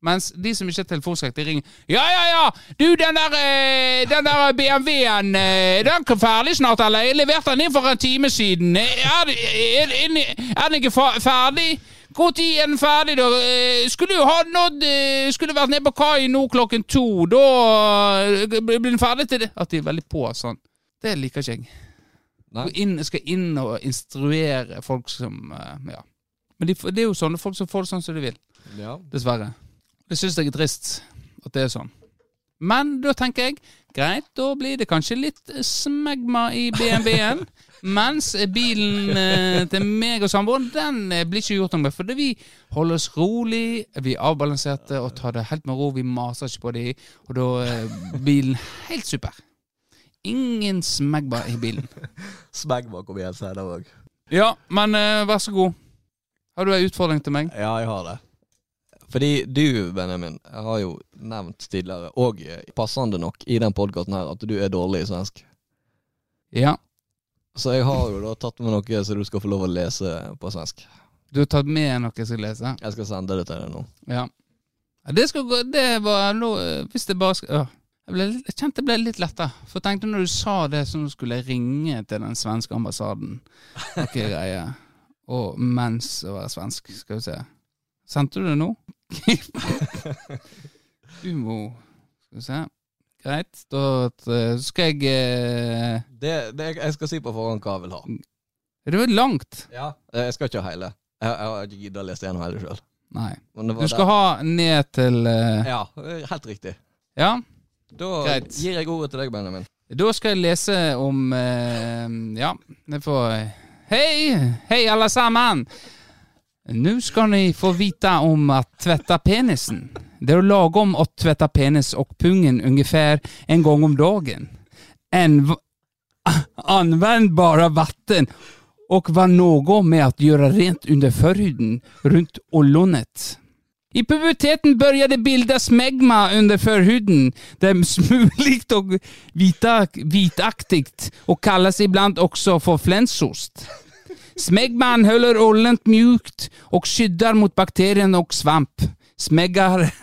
Mens de som ikke har telefonskrekk, de ringer Ja, ja, ja! Du, den der, eh, den der BMW-en, eh, den er ferdig snart, eller? Jeg leverte den inn for en time siden. Eh, Er, det- er, er, er den ikke fa- ferdig? Når er den ferdig, da? Eh, Skulle jo ha nådd eh, Skulle vært nede på kai nå klokken to. Da eh, blir den ferdig til det. At de er veldig på sånn. Det liker ikke jeg. Nei. Gå Inn, skal inn og instruere folk som eh, Ja. Men de, f- det er jo sånne folk som får det sånn som de vil. ja. Dessverre. Det syns jeg er trist at det er sånn. Men da tenker jeg greit, da blir det kanskje litt smegma i BMW-en. mens bilen eh, til meg og samboeren, den eh, blir ikke gjort noe med. Fordi vi holder oss rolig, vi er avbalanserte og tar det helt med ro. Vi maser ikke på de, og da er bilen helt super. Ingen smegma i bilen. Smegma kommer igjen senere òg. Ja, men eh, vær så god. Har du ei utfordring til meg? Ja, jeg har det. Fordi du, Benjamin, har jo nevnt tidligere, og eh, passende nok i den podkasten her, at du er dårlig i svensk. Ja. Så jeg har jo da tatt med noe så du skal få lov å lese på svensk. Du har tatt med noe jeg skal lese? Jeg skal sende det til deg nå. Ja. Ja, Det skal gå Det var lo- Hvis det bare skal øh. jeg, ble, litt- jeg kjente jeg ble litt letta. For jeg tenkte når du sa det, så nå skulle jeg ringe til den svenske ambassaden. Noe greier. Og mens å være svensk. Skal vi se. Sendte du det nå? du må Skal vi se. Greit. Da eh, skal jeg eh, Det, det, jeg skal si på forhånd hva jeg vil ha. Det var langt. Ja. Eh, Jeg skal ikke ha hele. Jeg, jeg har ikke giddet å lese gjennom hele sjøl. Nei. Du skal ha ned til eh, Ja, helt riktig. Ja. Da Greit. gir jeg ordet til deg, Benjamin. Da skal jeg lese om eh, Ja, det får Hei! Hei, alle sammen! Nå skal ni få vite om å tvätta penisen. Det är lagom att tvätta penis och pungen ungefär en gång om dagen. En v- använd bara vatten och var något med att göra rent under förhuden runt ollonet. I puberteten började bildas megma under förhuden. Det är smuligt och vita, vitaktigt och kallas ibland också för flänsost. Smegman håller ollet mjukt och skyddar mot bakterien och svamp. Smeggar...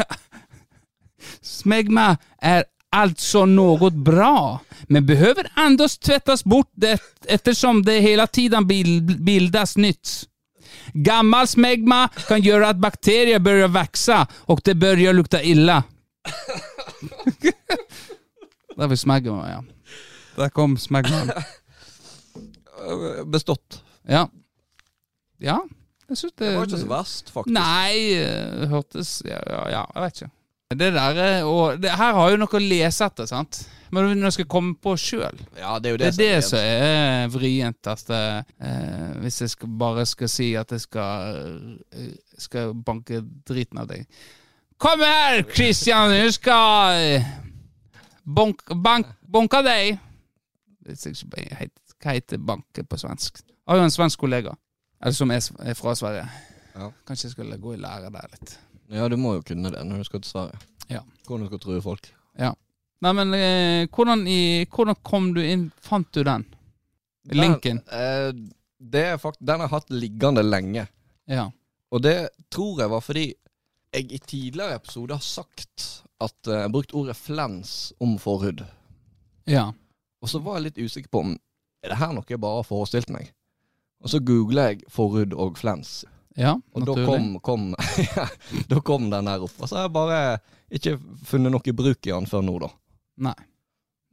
Smegma är alltså något bra, men behöver ändå tvättas bort det, eftersom det hela tiden bil- bildas nytt. Gammal smegma kan göra att bakterier börjar växa och det börjar lukta illa. Där var smegma ja. Där kom smegman. Eh, Bestått. Ja. Ja, jeg syns det Det var ikke så verst, faktisk. Eh, Nei, eh, hørtes ja, ja, ja, jeg vet ikke. Det der eh, og det, Her har jo noe å lese etter, sant? Men når jeg skal komme på sjøl. Ja, det er jo Det det, er det som er vrient. Altså, eh, hvis jeg skal, bare skal si at jeg skal, eh, skal banke driten av deg. Kom her, Christian! Jeg skal eh, bonk, bank, banke deg! Det er ikke bare heit- Hva heter banke på svensk? Jeg har jo en svensk kollega eller som er s- er fra Sverige. Ja. Kanskje jeg skulle gå i lære der litt. Ja, du må jo kunne det når du skal til Sverige. Ja. Hvordan du skal true folk. Nei, men eh, hvordan, i, hvordan kom du inn? Fant du den? Linken. eh, det er fakt den har jeg hatt liggende lenge. Ja. Og det tror jeg var fordi jeg i tidligere episoder har sagt at eh, jeg har brukt ordet flens om forhud. ja. Og så var jeg litt usikker på om er det her noe jeg bare har forestilt meg. Og så googla jeg forhud og flens, Ja, og da kom, kom, ja, da kom den her opp. Og så har jeg bare ikke funnet noe bruk i den før nå, da. Nei.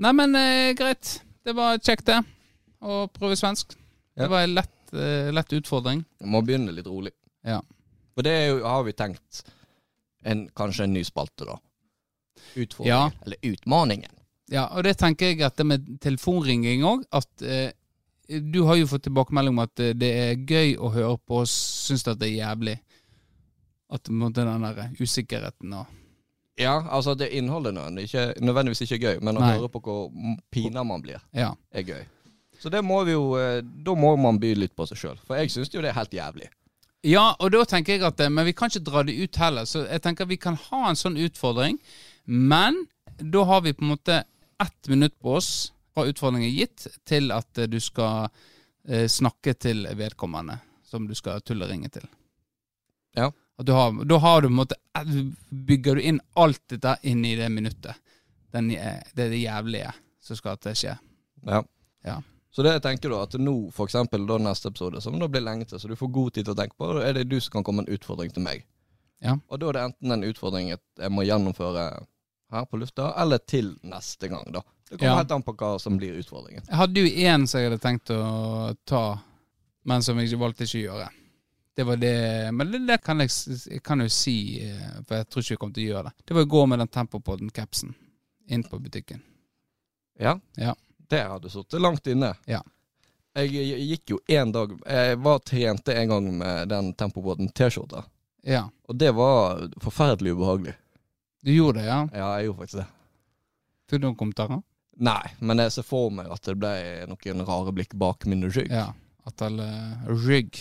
Nei, men eh, greit. Det var kjekt, det. Å prøve svensk. Ja. Det var en lett, eh, lett utfordring. Jeg Må begynne litt rolig. Ja. For det er jo, har vi tenkt en, kanskje en ny spalte, da. Ja. Utfordringen. Eller Utmaningen. Ja, og det tenker jeg at det med telefonringing òg, at eh, du har jo fått tilbakemelding om at eh, det er gøy å høre på og syns at det er jævlig. At på en måte den der usikkerheten og Ja, altså det innholdet nå, det er ikke, nødvendigvis ikke gøy, men å Nei. høre på hvor m- pina man blir, Ja. er gøy. Så det må vi jo eh, Da må man by litt på seg sjøl, for jeg syns jo det er helt jævlig. Ja, og da tenker jeg at eh, Men vi kan ikke dra det ut heller, så jeg tenker vi kan ha en sånn utfordring. Men da har vi på en måte ett minutt på oss fra utfordringen er gitt, til at eh, du skal eh, snakke til vedkommende som du skal tulleringe til. Ja. At du har, da har du på en måte Bygger du inn alt dette inn i det minuttet. Den, eh, det er det jævlige som skal til å skje. Ja. Ja. Så det jeg tenker da, at nå for eksempel da neste episode, som da blir lenge til, så du får god tid til å tenke på, da er det du som kan komme med en utfordring til meg. Ja. Og da er det enten en utfordring at jeg må gjennomføre her på lufta, eller til neste gang, da. Det kommer Ja. helt an på hva som blir utfordringen. Jeg hadde jo én som jeg hadde tenkt å ta, men som jeg ikke valgte ikke å gjøre. Det var det, Men det der kan jeg, s- jeg kan jo si, eh, for jeg tror ikke jeg kommer til å gjøre det. Det var å gå med den Tempopodden-capsen inn på butikken. Ja. Ja. Det hadde sittet langt inne. Ja. Jeg jeg gikk jo én dag Jeg var trente en gang med den tempobåten T-skjorta, Ja. og det var forferdelig ubehagelig. Du gjorde det, ja? Ja, jeg gjorde faktisk det. Fikk du noen kommentarer? Nei, men jeg ser for meg at det ble noen rare blikk bak min rygg. Ja. At alle eh, Rygg.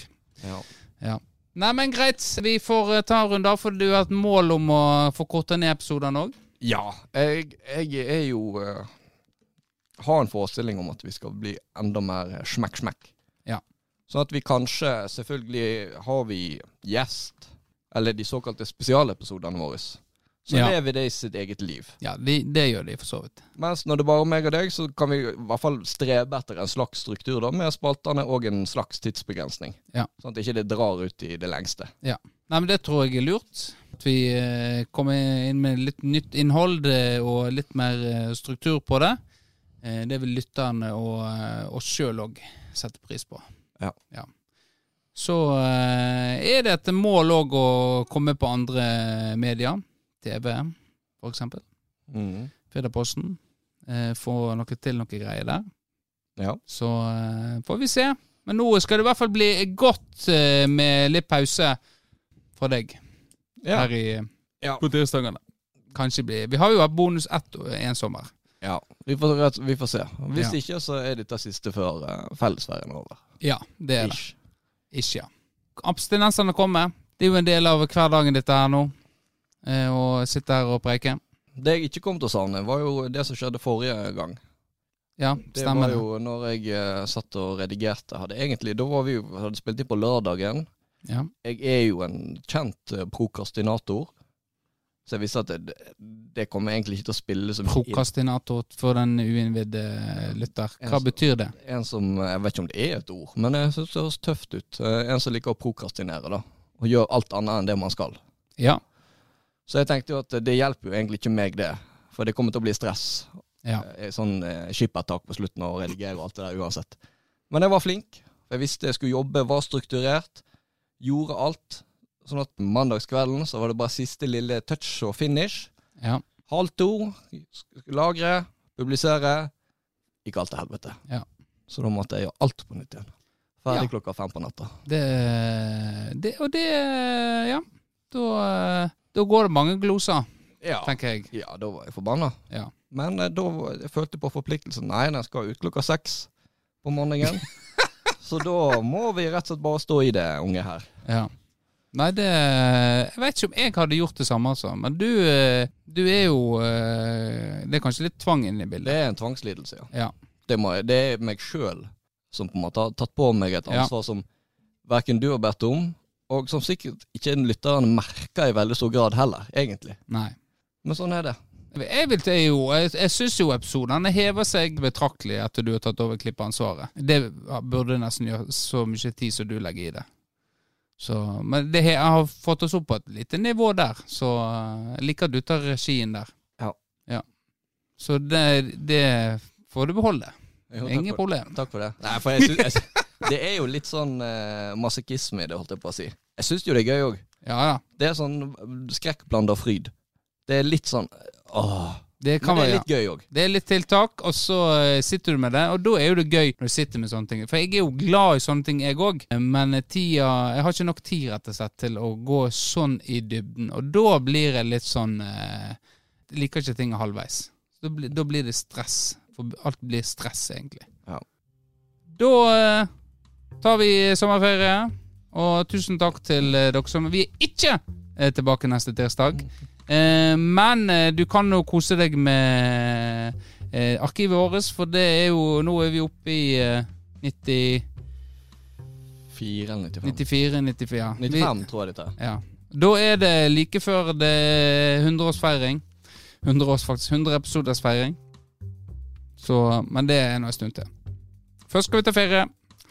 Ja. Nei, men greit. Vi får eh, ta en runde av, for du har et mål om å få korta ned episodene òg. Ja, jeg, jeg er jo eh, har en forestilling om at vi skal bli enda mer smekk-smekk. Ja. Sånn at vi kanskje, selvfølgelig har vi gjest, eller de såkalte spesialepisodene våre, så Ja. lever det i sitt eget liv. Ja, de, det gjør de for så vidt. Mens når det bare er meg og deg, så kan vi i hvert fall strebe etter en slags struktur da, med spaltene og en slags tidsbegrensning. Ja. Sånn at ikke det drar ut i det lengste. Nei, men det tror jeg er lurt. At vi eh, kommer inn med litt nytt innhold eh, og litt mer eh, struktur på det. Eh, det vil lytterne og eh, oss sjøl òg sette pris på. Ja. Så eh, er det et mål òg å komme på andre eh, medier. TV, for eksempel. Mm. Firdaposten. Eh, få noe til noe greier der. Ja. Så eh, får vi se. Men nå skal det i hvert fall bli godt eh, med litt pause fra deg Ja. her i Ja. på tirsdagene. Kanskje bli Vi har jo hatt bonus ett og- en sommer. ja. Vi, får, rett- vi får se. Hvis Ja. ikke, så er dette siste før eh, fellesferien er over. Ja, det er det. Ish. Ikke, ja. Abstinensene kommer. Det er jo en del av hverdagen dette her nå. Eh, Å sitte her og preike. Det jeg ikke kom til å savne, var jo det som skjedde forrige gang. Ja, Det var stemmer det. jo når jeg eh, satt og redigerte. Hadde egentlig, da var vi jo, hadde spilt inn på lørdagen. Ja. Jeg er jo en kjent eh, prokrastinator, så jeg visste at det, det kommer egentlig ikke til å spille så mye. inn. Prokastinator for den uinnvidde lytter. Ja, Hva så- betyr det? En som, eh, jeg vet ikke om det er et ord, men jeg synes det høres tøft ut. Eh, En som liker å prokrastinere, da. Og gjør alt annet enn det man skal. Ja. Så jeg tenkte jo at det hjelper jo egentlig ikke meg, det. For det kommer til å bli stress. Ja. Eh, Sånn eh, skippertak på slutten og redigere og alt det der uansett. Men jeg var flink. for Jeg visste jeg skulle jobbe, var strukturert. Gjorde alt. Sånn at mandagskvelden så var det bare siste lille touch og finish. ja. Halv to. sk- Lagre. Publisere. Gikk alt til helvete. Ja. Så da måtte jeg gjøre alt på nytt igjen. Ferdig klokka fem på natta. Det, det Og det Ja. Da, eh, da går det mange gloser, Ja. tenker jeg. Ja, da var jeg forbanna. Ja. Men eh, da var- jeg følte på forpliktelsen. Nei, den skal ut klokka seks på morgenen. Så da må vi rett og slett bare stå i det, unge her. Ja. Nei, det Jeg vet ikke om jeg hadde gjort det samme, altså. Men du, eh, du er jo eh, Det er kanskje litt tvang inne i Det bildet. er en tvangslidelse, ja. Ja. Det, må, jeg- det er meg sjøl som på en måte har tatt på meg et Ja. ansvar som verken du har bedt om, og som sikkert ikke lytterne merker i veldig stor grad heller, egentlig. Nei. Men sånn er det. Jeg, vil til jo, jeg, jeg syns jo episodene hever seg betraktelig etter du har tatt over klippeansvaret. Det burde nesten gjøre så mye tid som du legger i det. Så, men det, he- jeg har fått oss opp på et lite nivå der, så eh, jeg liker at du tar regien der. Ja. Så det, det får du beholde. Jo, takk Ingen for, problem. takk for det. Nei, for jeg synes, jeg, sy- det er jo litt sånn eh, masochisme i det, holdt jeg på å si. Jeg syns jo det er gøy òg. Ja, ja. Det er sånn skrekkblanda fryd. Det er litt sånn åh. Det kan Men det være er ja. litt gøy òg. Det er litt tiltak, og så eh, sitter du med det. Og da er jo det gøy når du sitter med sånne ting. For jeg er jo glad i sånne ting, jeg òg. Men tida Jeg har ikke nok tid, rett og slett, til å gå sånn i dybden. Og da blir jeg litt sånn eh, Liker ikke ting halvveis. Da blir, da blir det stress. For alt blir stress, egentlig. Ja. Da eh, tar vi sommerferie. Og tusen takk til eh, dere som Vi er ikke eh, tilbake neste tirsdag. Eh, men eh, du kan jo kose deg med eh, arkivet vårt, for det er jo Nå er vi oppe i eh, 90, 4 eller 95. 94 94, ja. Vi- 95 tror jeg dette er. ja. Da er det like før det er 100-årsfeiring. 100 års faktisk 100 episoders feiring. Så, men det er nå en stund til. Først skal vi ta ferie.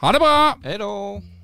Ha det bra! Hei da!